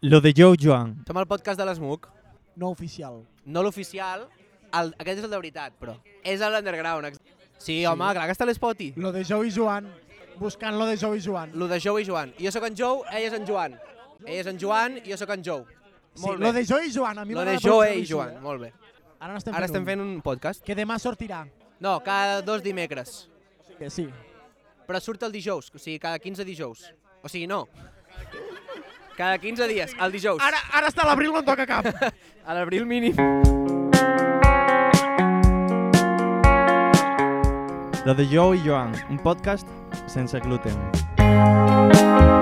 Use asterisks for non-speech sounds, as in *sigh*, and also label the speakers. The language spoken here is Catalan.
Speaker 1: Lo de Joe Joan.
Speaker 2: Som el podcast de l'Smug.
Speaker 3: No oficial.
Speaker 2: No l'oficial, el... aquest és el de veritat, però. És l'underground. ex- Sí, home, clar que està a l'Spoti.
Speaker 3: Lo de Joe i Joan. Buscant lo de Joe i Joan.
Speaker 2: Lo de Joe i Joan. Jo sóc en Joe, ell és en Joan. Ell és en Joan, jo sóc en Joe.
Speaker 3: Sí,
Speaker 2: Molt
Speaker 3: lo
Speaker 2: bé.
Speaker 3: de Joe i Joan. A mi
Speaker 2: Lo de
Speaker 3: m'agrada prou
Speaker 2: Joe
Speaker 3: Joe
Speaker 2: i Joan,
Speaker 3: eh?
Speaker 2: molt bé.
Speaker 3: Ara n'estem
Speaker 2: Ara
Speaker 3: fent
Speaker 2: estem
Speaker 3: un.
Speaker 2: fent un podcast.
Speaker 3: Que demà sortirà.
Speaker 2: No, cada dos dimecres.
Speaker 3: Que sí.
Speaker 2: Però surt el dijous, o sigui, cada 15 dijous. O sigui, no. Cada 15 dies, el dijous.
Speaker 3: Ara, ara està l'abril, no en toca cap.
Speaker 2: *laughs* A l'abril mínim.
Speaker 1: Lo de Joe i Joan, un podcast sense gluten.